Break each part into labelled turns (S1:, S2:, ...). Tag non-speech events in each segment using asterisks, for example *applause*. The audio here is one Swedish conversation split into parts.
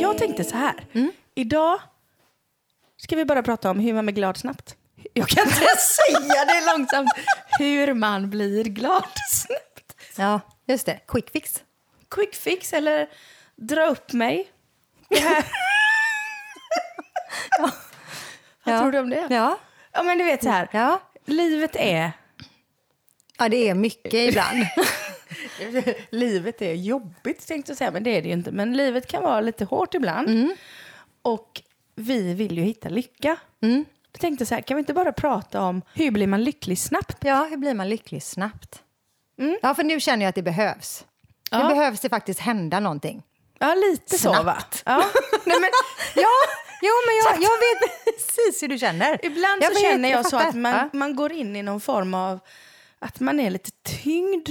S1: Jag tänkte så här.
S2: Mm.
S1: Idag ska vi bara prata om hur man blir glad snabbt. Jag kan inte *laughs* säga det långsamt. Hur man blir glad snabbt.
S2: Ja, just det. Quick fix.
S1: Quick fix eller dra upp mig. Det *laughs* här. Vad
S2: Ja.
S1: tror du om det?
S2: Ja.
S1: Ja, men du vet så här.
S2: Ja.
S1: Livet är...
S2: ja, det är mycket *laughs* ibland.
S1: *laughs* livet är jobbigt tänkte jag säga, men det är det ju inte. Men livet kan vara lite hårt ibland. Och vi vill ju hitta lycka. Mm. Jag tänkte så här, kan vi inte bara prata om hur blir man lycklig snabbt?
S2: Ja, hur blir man lycklig snabbt? Ja, för nu känner jag att det behövs.
S1: Mm. Ja.
S2: Nu behövs det faktiskt hända någonting.
S1: Ja, lite så va?
S2: Snabbt.
S1: Ja. Nej, *laughs* men,
S2: *laughs* Ja, jo, men jag, jag vet precis hur du känner.
S1: ibland
S2: Jag
S1: så
S2: vet,
S1: känner jag, så
S2: fattar.
S1: att man,
S2: Ja.
S1: man går in i någon form av att man är lite tyngd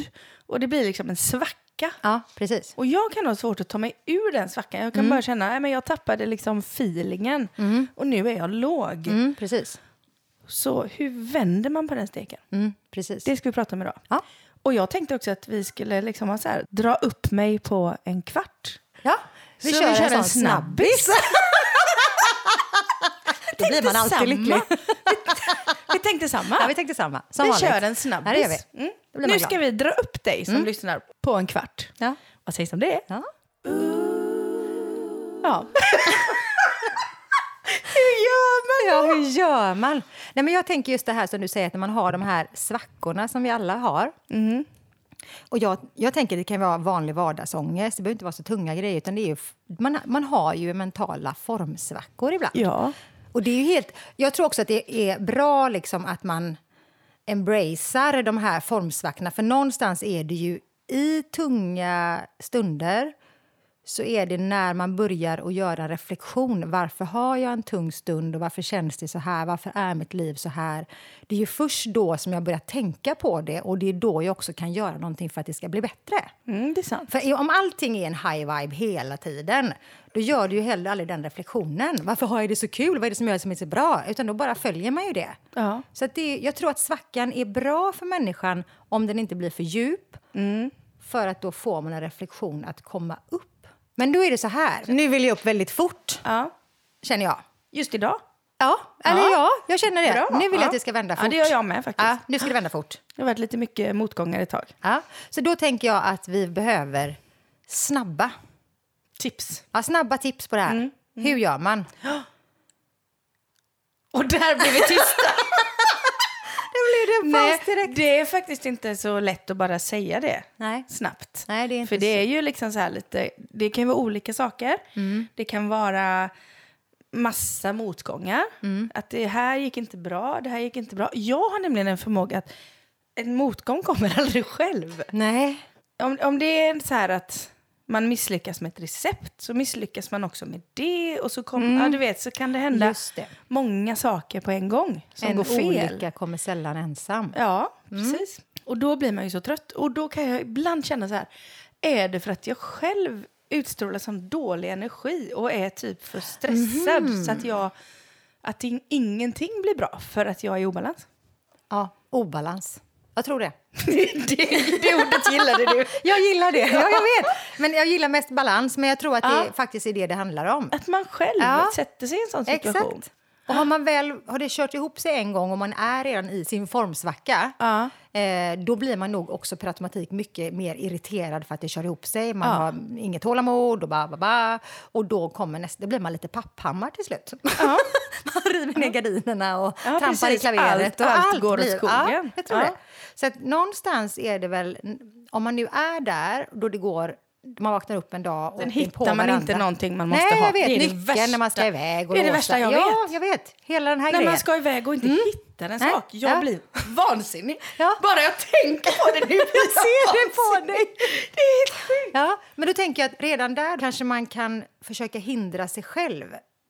S1: och det blir liksom en svacka.
S2: Ja, precis.
S1: Och jag kan ha svårt att ta mig ur den svackan.
S2: Mm.
S1: Jag kan bara känna, nej men jag tappade liksom feelingen och nu är jag låg.
S2: Mm, precis.
S1: Så hur vänder man på den steken?
S2: Mm, precis.
S1: Det ska vi prata om idag.
S2: Ja.
S1: Och jag tänkte också att vi skulle liksom ha så här, dra upp mig på en kvart.
S2: Ja,
S1: Så vi kör en snabbis. *laughs*
S2: Då blir man alltid
S1: Samma.
S2: lycklig.
S1: Vi tänkte samma.
S2: Ja, vi tänkte samma. Som
S1: vi
S2: vanligt.
S1: kör en snabbis.
S2: Ja, det gör vi.
S1: Mm.
S2: Då blir
S1: Nu
S2: man
S1: ska
S2: glad.
S1: vi dra upp dig som lyssnar på en kvart.
S2: Ja.
S1: Mm. Vad sägs om det?
S2: Ja.
S1: Ja. *laughs* Hur gör man?
S2: Ja, hur gör man? Nej, men jag tänker just det här som du säger, att när man har de här svackorna som vi alla har. Mm. Och jag, jag tänker det kan vara vanlig vardagsångest, det behöver inte vara så tunga grejer. Utan det är ju, f- man, man har ju mentala formsvackor ibland.
S1: Ja.
S2: Och det är ju helt, jag tror också att det är bra liksom att man embracear de här formsvackorna. För någonstans är det ju i tunga stunder så är det när man börjar att göra en reflektion. Varför har jag en tung stund och varför känns det så här? Varför är mitt liv så här? Det är ju först då som jag börjar tänka på det och det är då jag också kan göra någonting för att det ska bli bättre.
S1: Mm, det är sant.
S2: För om allting är en high vibe hela tiden, då gör du ju heller aldrig den reflektionen. Varför har jag det så kul? Vad är det som gör det som är så bra? Utan då bara följer man ju det.
S1: Ja.
S2: Så att det, jag tror att svackan är bra för människan om den inte blir för djup. Mm. För att då får man en reflektion att komma upp. Men då är det så här, nu vill jag upp väldigt fort,
S1: ja.
S2: känner jag.
S1: Just idag.
S2: Ja, eller
S1: Ja.
S2: ja, jag känner det.
S1: Bra.
S2: Nu vill jag
S1: Ja.
S2: att det ska vända
S1: Ja,
S2: fort.
S1: det gör jag med faktiskt.
S2: Ja, nu ska det vända fort.
S1: Det har varit lite mycket motgångar ett tag.
S2: Ja. Så då tänker jag att vi behöver snabba
S1: Tips.
S2: Ja, snabba tips på det här. Hur gör man?
S1: Och där blev vi *laughs* tysta.
S2: Det blev
S1: Nej, det är faktiskt inte så lätt att bara säga det
S2: Nej.
S1: snabbt.
S2: Nej, det är inte
S1: För det är ju liksom så här lite, det kan ju vara olika saker.
S2: Mm.
S1: Det kan vara massa motgångar.
S2: Mm.
S1: Att det här gick inte bra, det här gick inte bra. Jag har nämligen en förmåga att en motgång kommer *laughs* aldrig själv.
S2: Nej.
S1: Om, om det är så här att man misslyckas med ett recept så misslyckas man också med det. Och så kommer, ja, du vet, så kan det hända
S2: Mm. Just det.
S1: många saker på en gång som
S2: en
S1: går fel.
S2: olycka kommer sällan ensam.
S1: Ja,
S2: Mm.
S1: precis. Och då blir man ju så trött. Och då kan jag ibland känna så här, är det för att jag själv utstrålar som dålig energi och är typ för stressad
S2: Mhm.
S1: så att jag att in, ingenting blir bra för att jag är i obalans? *laughs*
S2: Ja, obalans. Jag tror det.
S1: det, det ordet gillade du.
S2: Jag gillar det. *laughs* Ja, jag vet. Men jag gillar mest balans, men jag tror att det faktiskt är det det handlar om.
S1: Att man själv
S2: Ja.
S1: sätter sig i en sån situation.
S2: Exakt. Och har man väl har det kört ihop sig en gång och man är redan i sin formsvacka
S1: Ja.
S2: eh, då blir man nog också per automatik mycket mer irriterad för att det kör ihop sig. Man har inget tålamod och ba, ba, ba. Och då kommer nästa, då blir man lite papphammar till slut. *laughs* man river ner gardinerna och
S1: Ja,
S2: trampar i
S1: precis. Allt-
S2: klaveret. och
S1: allt går åt
S2: blir- Ja,
S1: skogen.
S2: jag tror
S1: Ja.
S2: det. Så att någonstans är det väl, om man nu är där då det går man vaknar upp en dag och
S1: Sen
S2: det är på
S1: hittar man
S2: varandra.
S1: inte någonting man måste
S2: Nej,
S1: ha.
S2: jag vet.
S1: Det är det
S2: Nyckeln
S1: värsta.
S2: när man ska iväg. Och
S1: Det är det
S2: låsa.
S1: värsta jag
S2: ja,
S1: vet.
S2: jag vet. Hela den här
S1: När
S2: grejen.
S1: man ska iväg och inte hittar en
S2: Mm. Nej.
S1: sak. Jag
S2: Ja.
S1: blir vansinnig.
S2: Ja.
S1: Bara jag tänker på det
S2: *laughs*
S1: nu blir jag
S2: ser det på
S1: vansinnig. Det är helt sjukt.
S2: Ja, men då tänker jag att redan där kanske man kan försöka hindra sig själv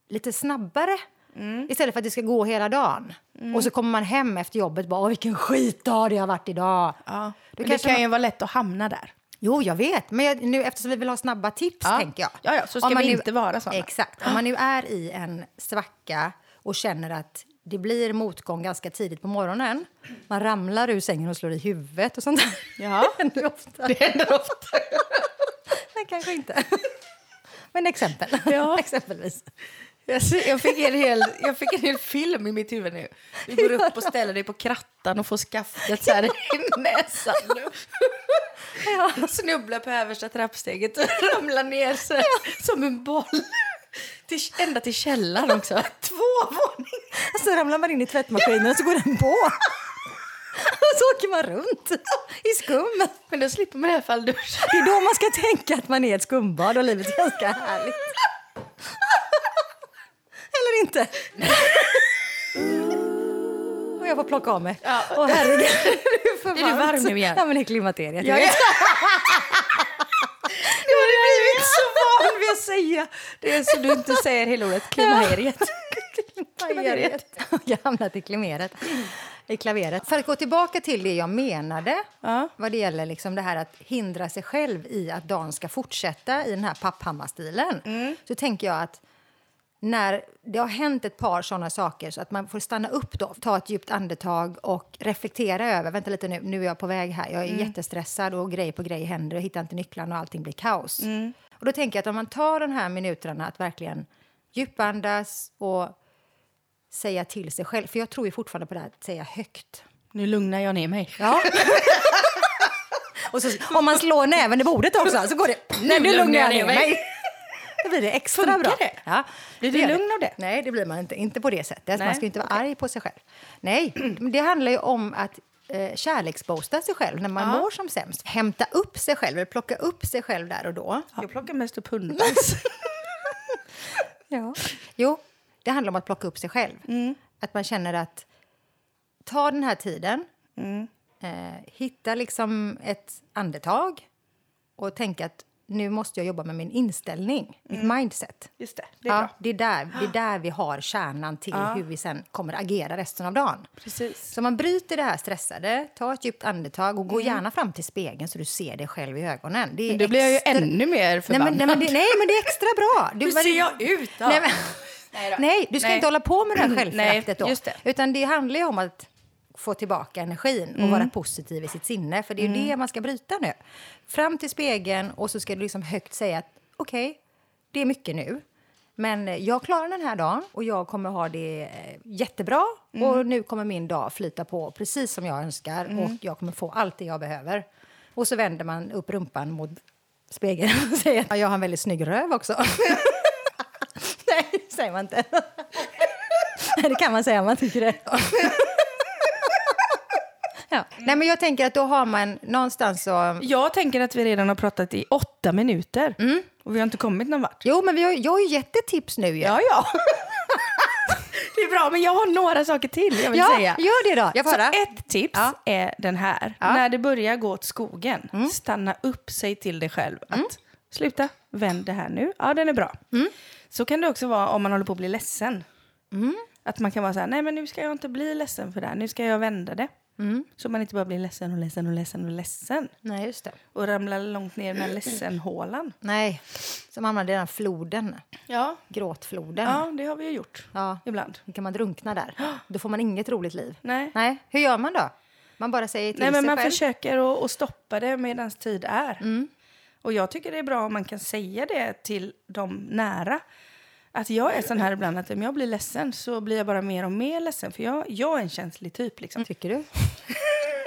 S2: lite snabbare.
S1: Mm.
S2: Istället för att det ska gå hela dagen. Och så kommer man hem efter jobbet och bara, "Åh, vilken skitdag det har varit idag.
S1: Ja,
S2: Då
S1: men det
S2: kanske
S1: kan
S2: man-
S1: ju vara lätt att hamna där.
S2: Jo, jag vet. Men jag, nu, eftersom vi vill ha snabba tips,
S1: Ja.
S2: tänker jag.
S1: Ja, ja, så ska
S2: Om man
S1: vi inte vara såna.
S2: Exakt. Om man nu är i en svacka och känner att det blir motgång ganska tidigt på morgonen. Man ramlar ur sängen och slår i huvudet och sånt där.
S1: Ja.
S2: *laughs* Det händer ofta.
S1: Det händer ofta.
S2: *laughs* Nej, kanske inte. *laughs* Men exempel.
S1: Ja.
S2: *laughs* Exempelvis.
S1: Jag, ser- jag, fick en hel, jag fick en hel film i mitt huvud nu. Du går upp och ställer dig på krattan och får skaftet så här i näsan.
S2: Ja.
S1: Snubblar på översta trappsteget och ramlar ner så här, som en boll. Till, ända till källaren också. Två våningar!
S2: Och så ramlar man in i tvättmaskinen och så går
S1: *laughs*
S2: den på. *laughs* Och så åker man runt i skum.
S1: Men då slipper man i alla fall duscha.
S2: Det är då man ska tänka att man är ett skumbad och livet är ganska härligt. Eller inte. Och jag får plocka av mig.
S1: Ja.
S2: Åh herregud, det är för
S1: Är du varm nu igen?
S2: Ja men det är klimakteriet.
S1: Jag
S2: jag vet.
S1: vet. Nu har du blivit så van vid att säga det är så du inte säger hela ordet klimakteriet.
S2: *laughs* Klaveret. Jag har hamnat i klaveret. I klaveret. För att gå tillbaka till det jag menade
S1: Ja.
S2: vad det gäller liksom det här att hindra sig själv i att dagen ska fortsätta i den här papphammarstilen så tänker jag att när det har hänt ett par såna saker så att man får stanna upp då, ta ett djupt andetag och reflektera över, vänta lite nu, nu är jag på väg här, jag är jättestressad och grej på grej händer och hittar inte nycklarna och allting blir kaos. Och då tänker jag att om man tar de här minuterna att verkligen djupandas och säga till sig själv, för jag tror ju fortfarande på det här att säga högt.
S1: Nu lugnar jag ner mig.
S2: Ja. *laughs* Och så, om man slår näven i bordet också så går det... Nej, nu lugnar jag ner mig. *laughs* Då blir det extra
S1: Funkar
S2: bra.
S1: det?
S2: Ja.
S1: Blir du
S2: gör
S1: lugn av det?
S2: Nej, det blir man inte. Inte på det sättet. Man
S1: Nej,
S2: ska ju inte vara arg på sig själv. Nej, men det handlar ju om att eh, kärleksboosta sig själv när man mår som sämst. Hämta upp sig själv, eller plocka upp sig själv där och då.
S1: Jag plockar mest upp *laughs* hundbajs.
S2: Ja. Jo, det handlar om att plocka upp sig själv.
S1: Mm.
S2: Att man känner att ta den här tiden,
S1: Mm.
S2: eh, hitta liksom ett andetag och tänka att nu måste jag jobba med min inställning, mitt mindset.
S1: Just Mm. det, det är
S2: Ja,
S1: bra.
S2: det, är där, det är där vi har kärnan till hur vi sen kommer att agera resten av dagen.
S1: Precis. Mm.
S2: Så man bryter det här stressade, tar ett djupt andetag och gå gärna fram till spegeln så du ser dig själv i ögonen. Det är
S1: Då blir jag ju
S2: extra-
S1: ännu mer
S2: Nej
S1: förbannad.
S2: men, nej, men det, nej, men det är extra bra. Du,
S1: Hur
S2: men-
S1: ser jag ut då?
S2: Nej, men,
S1: Nej då.
S2: nej, du ska
S1: Nej.
S2: inte hålla på med det här
S1: Nej,
S2: självföraktet då.
S1: just det.
S2: Utan det handlar ju om att få tillbaka energin och
S1: Mm.
S2: vara positiv i sitt sinne. För det är ju det man ska bryta nu. Fram till spegeln och så ska du liksom högt säga att okej, det är mycket nu. Men jag klarar den här dagen och jag kommer ha det eh, jättebra.
S1: Mm.
S2: Och nu kommer min dag flyta på precis som jag önskar och jag kommer få allt det jag behöver. Och så vänder man upp rumpan mot spegeln *laughs* och säger att jag har en väldigt snygg röv också. *laughs* Nej, det säger man inte. Nej, *laughs* det kan man säga om man tycker *laughs* det. ja. Nej, men jag tänker att då har man någonstans så...
S1: Jag tänker att vi redan har pratat i åtta minuter och vi har inte kommit någon vart.
S2: Jo, men vi har, jag har ju gett ett tips nu. ju.
S1: Ja, ja. *laughs* det är bra, men jag har några saker till jag vill
S2: Ja,
S1: säga.
S2: gör det då. Jag får
S1: Så
S2: höra.
S1: Alltså, ett tips
S2: Ja. Mm.
S1: är den här. När det börjar gå åt skogen, stanna upp, säg till dig själv att sluta, vänd det här nu. Ja, den är bra.
S2: Mm.
S1: Så kan det också vara om man håller på att bli ledsen.
S2: Mm.
S1: Att man kan vara så här, nej men nu ska jag inte bli ledsen för det här, nu ska jag vända det.
S2: Mm.
S1: Så man inte bara blir ledsen och ledsen och ledsen och ledsen.
S2: Nej, just det.
S1: Och ramlar långt ner
S2: Mm.
S1: med ledsenhålan.
S2: Nej, som hamnade i den här floden.
S1: Ja.
S2: Gråtfloden.
S1: ja, det har vi ju gjort
S2: Ja.
S1: ibland.
S2: Då kan man drunkna där.
S1: *gasps*
S2: Då får man inget roligt liv.
S1: Nej.
S2: Nej. Hur gör man då? Man bara säger till
S1: Nej, men
S2: sig
S1: man
S2: själv.
S1: försöker att, att stoppa det medan tid är. Och jag tycker det är bra om man kan säga det till de nära. Att jag är sån här ibland att om jag blir ledsen så blir jag bara mer och mer ledsen. För jag, jag är en känslig typ liksom.
S2: Tycker du? *laughs*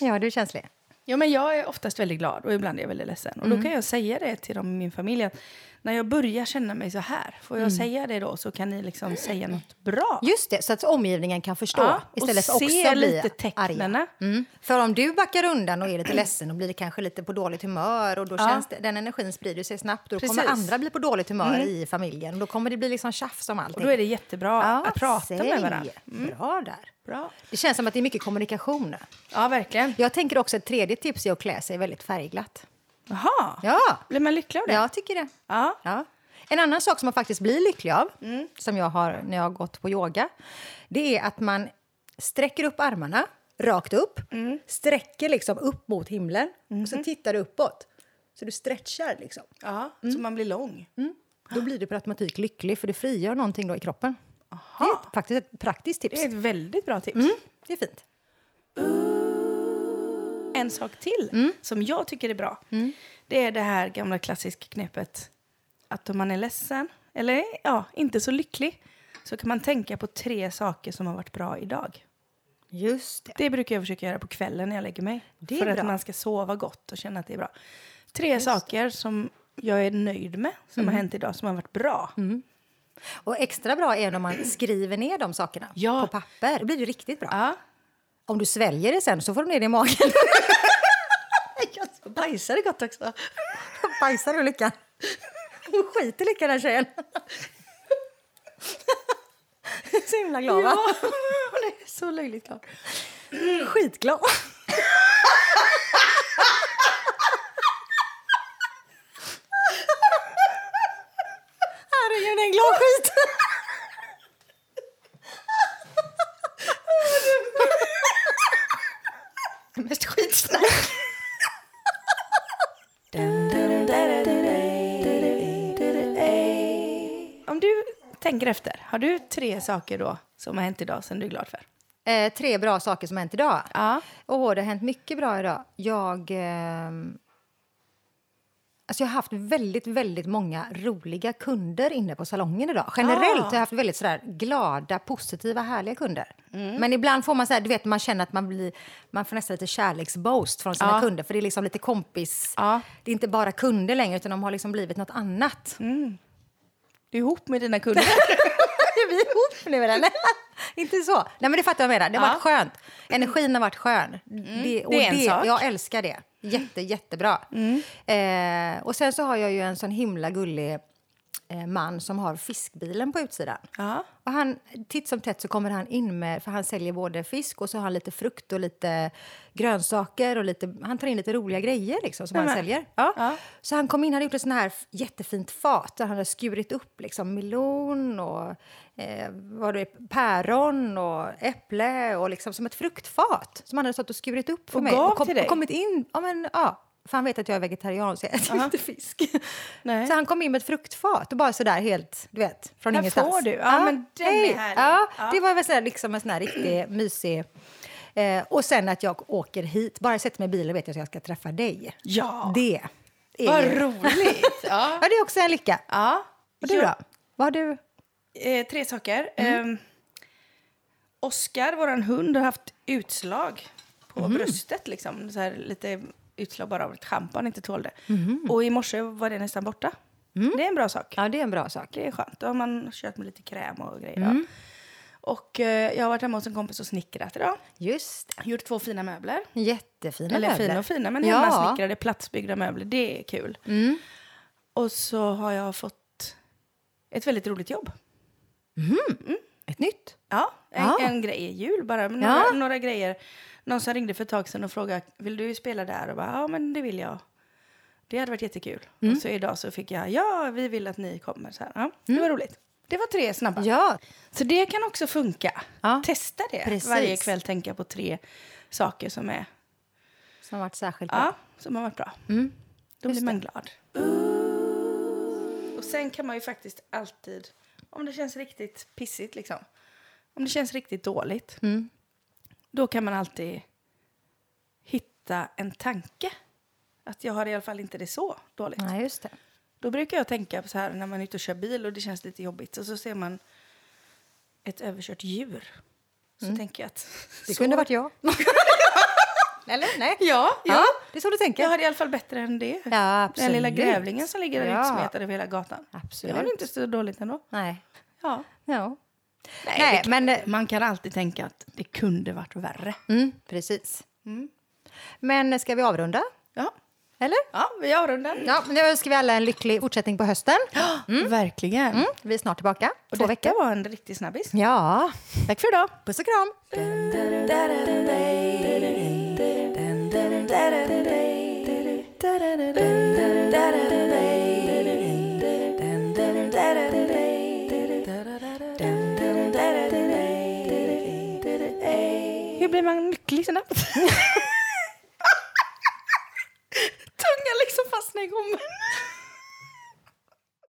S2: ja, du är känslig.
S1: Ja, men jag är oftast väldigt glad och ibland är jag väldigt ledsen. Och då kan jag säga det till dem i min familj att när jag börjar känna mig så här, får jag säga det då så kan ni liksom säga något bra.
S2: Just det, så att omgivningen kan förstå
S1: Ja, och
S2: istället för också
S1: se
S2: bli
S1: lite
S2: arga.
S1: tecknena.
S2: Mm. För om du backar undan och är lite ledsen och blir kanske lite på dåligt humör och då
S1: Ja.
S2: känns det, den energin sprider sig snabbt och då kommer
S1: Precis. Mm.
S2: andra bli på dåligt humör i familjen och då kommer det bli liksom tjafs om
S1: Och
S2: allting.
S1: då är det jättebra att prata med
S2: säg.
S1: varandra. Mm.
S2: Bra där.
S1: Bra.
S2: Det känns som att det är mycket kommunikation.
S1: Ja, verkligen.
S2: Jag tänker också ett tredje tips är att klä sig väldigt färgglatt.
S1: Jaha,
S2: Ja,
S1: blir man lycklig av det?
S2: jag tycker det.
S1: ja.
S2: Ja. En annan sak som man faktiskt blir lycklig av, som jag har när jag har gått på yoga, det är att man sträcker upp armarna rakt upp, sträcker liksom upp mot himlen och
S1: Mhm.
S2: så tittar du uppåt. Så du stretchar liksom.
S1: Ja, så man blir lång.
S2: Mm. Då blir du per automatik lycklig för du frigör någonting då i kroppen. Det är ett, faktiskt ett praktiskt tips.
S1: Det är ett väldigt bra tips.
S2: Mm, det är fint.
S1: En sak till
S2: Mm.
S1: som jag tycker är bra. Det är det här gamla klassiska knepet att om man är ledsen, eller ja, inte så lycklig, så kan man tänka på tre saker som har varit bra idag.
S2: Just det.
S1: Det brukar jag försöka göra på kvällen när jag lägger mig.
S2: Det är
S1: för
S2: bra.
S1: att man ska sova gott och känna att det är bra. Tre saker som jag är nöjd med, som
S2: Mm.
S1: har hänt idag, som har varit bra.
S2: Och extra bra är när man skriver ner de sakerna
S1: Ja.
S2: på papper. Då blir det riktigt bra.
S1: Ja.
S2: Om du sväljer det sen så får du ner det i magen.
S1: *laughs* Jag bajsade gott också.
S2: *laughs* Bajsar du lyckan? Hon skiter lyckan den tjejen. *laughs* Så himla glad va?
S1: Ja, *laughs* hon är så löjligt glad.
S2: Skitglad. Herregud, en glad skit.
S1: Mest skitsnack. Om du tänker efter, har du tre saker då som har hänt idag som du är glad för?
S2: Eh, tre bra saker som har hänt idag.
S1: Ja.
S2: Åh, det har hänt mycket bra idag. Jag... ehm, Alltså jag har haft väldigt, väldigt många roliga kunder inne på salongen idag. Generellt
S1: Ah.
S2: har jag haft väldigt sådär glada, positiva, härliga kunder.
S1: Mm.
S2: Men ibland får man så här, du vet, man känner att man blir, man får nästan lite kärleksboast från sina
S1: Ja.
S2: kunder. För det är liksom lite kompis,
S1: Ja.
S2: det är inte bara kunder längre utan de har liksom blivit något annat.
S1: Du är ihop med dina *laughs* kunder.
S2: *laughs* Är vi ihop nu eller? *laughs* Inte så. Nej men det fattar jag vad jag menar. Det har
S1: Ja. Mm.
S2: varit skönt. Energin har varit skön. Det, och
S1: det är en sak. Mm.
S2: Jag älskar det. Jätte, jättebra. Eh, och sen så har jag ju en sån himla gullig eh, man som har fiskbilen på utsidan.
S1: Ja.
S2: Och han, titt som tätt så kommer han in med, för han säljer både fisk och så har han lite frukt och lite grönsaker och lite, han tar in lite roliga grejer liksom som han
S1: Nämen.
S2: säljer. Ja.
S1: Ja.
S2: Så han kom in, han hade gjort ett sån här f- jättefint fat där han hade skurit upp liksom melon och eh, vad det är, päron och äpple och liksom som ett fruktfat som han hade stått och skurit upp för
S1: Och
S2: mig.
S1: gav
S2: och, kom,
S1: till dig?
S2: och kommit in, ja men ja. För han vet att jag är vegetarian så jag äter inte fisk. *laughs*
S1: Nej.
S2: Så han kom in med ett fruktfat och bara sådär helt, du vet, från
S1: Här
S2: ingenstans.
S1: får du. Ja, men den är
S2: hej.
S1: härlig.
S2: Ja,
S1: Ja.
S2: det var väl sådär, liksom en sån här riktig mysig... Eh, och sen att jag åker hit, bara jag sätter mig i bilen vet jag att jag ska träffa dig.
S1: Ja.
S2: Det är
S1: Vad
S2: ju-
S1: roligt. *laughs* Ja.
S2: Ja, det är också en lycka.
S1: ja.
S2: Och du
S1: Jag-
S2: då? Vad har du?
S1: Eh, tre saker. Eh, Oscar, vår hund, har haft utslag på bröstet. Liksom. Så här, lite utslag bara av att schampan inte tålde. Och i morse var det nästan borta. Det är en bra sak.
S2: Ja, det är en bra sak.
S1: Det är skönt. Då har man kört med lite kräm och grejer. ja. Och eh, jag har varit hemma hos en kompis och snickrat idag.
S2: Just
S1: Gjort två fina möbler.
S2: det. Jättefina
S1: Eller
S2: möbler.
S1: fina och fina, men
S2: Ja. Mm.
S1: hemmasnickrade platsbyggda möbler. Det är kul. Och så har jag fått ett väldigt roligt jobb.
S2: Ett nytt.
S1: Ja, en,
S2: Ja.
S1: en grej i jul bara. men Några,
S2: Ja.
S1: några grejer. Någon som ringde för ett tag sedan och frågade vill du spela där? Och bara, ja men det vill jag. Det hade varit jättekul.
S2: Mm.
S1: Och så idag så fick jag, ja vi vill att ni kommer. Så här, ja, Det var roligt. Det var tre snabba.
S2: Mm. Ja.
S1: Så det kan också funka.
S2: Ja.
S1: Testa det.
S2: Precis.
S1: Varje kväll tänka på tre saker som, är,
S2: Som har varit särskilt bra.
S1: ja, Mm. som har varit bra. Då blir man glad. Och sen kan man ju faktiskt alltid, om det känns riktigt pissigt liksom, om det känns riktigt dåligt, då kan man alltid hitta en tanke. Att jag har i alla fall inte det så dåligt.
S2: Ja, just det.
S1: Då brukar jag tänka på så här när man är ute och kör bil och det känns lite jobbigt och så ser man ett överkört djur. Så tänker jag att...
S2: Det
S1: så- *laughs*
S2: kunde varit jag. Eller? Nej.
S1: Ja,
S2: Ja,
S1: ja.
S2: det är så du tänker.
S1: Jag hade i alla fall bättre än det.
S2: Ja,
S1: Den
S2: absolut.
S1: lilla grävlingen som ligger där
S2: Ja.
S1: utsmetad över hela gatan.
S2: Absolut.
S1: Det var inte så dåligt ändå.
S2: Nej.
S1: Ja.
S2: Ja. Nej,
S1: det kan-
S2: men... eh,
S1: Man kan alltid tänka att det kunde varit värre.
S2: Mm, precis.
S1: Mm.
S2: Men eh, ska vi avrunda?
S1: Ja,
S2: Eller?
S1: ja vi avrundar.
S2: Ja, men nu önskar vi alla en lycklig fortsättning
S1: *gasps*
S2: på hösten.
S1: Verkligen.
S2: Mm, vi är snart tillbaka.
S1: Och
S2: Två
S1: detta
S2: veckor.
S1: var en riktig snabbis.
S2: Ja.
S1: Tack för idag.
S2: Puss och kram!
S1: Hur blir man lycklig snabbt? liksom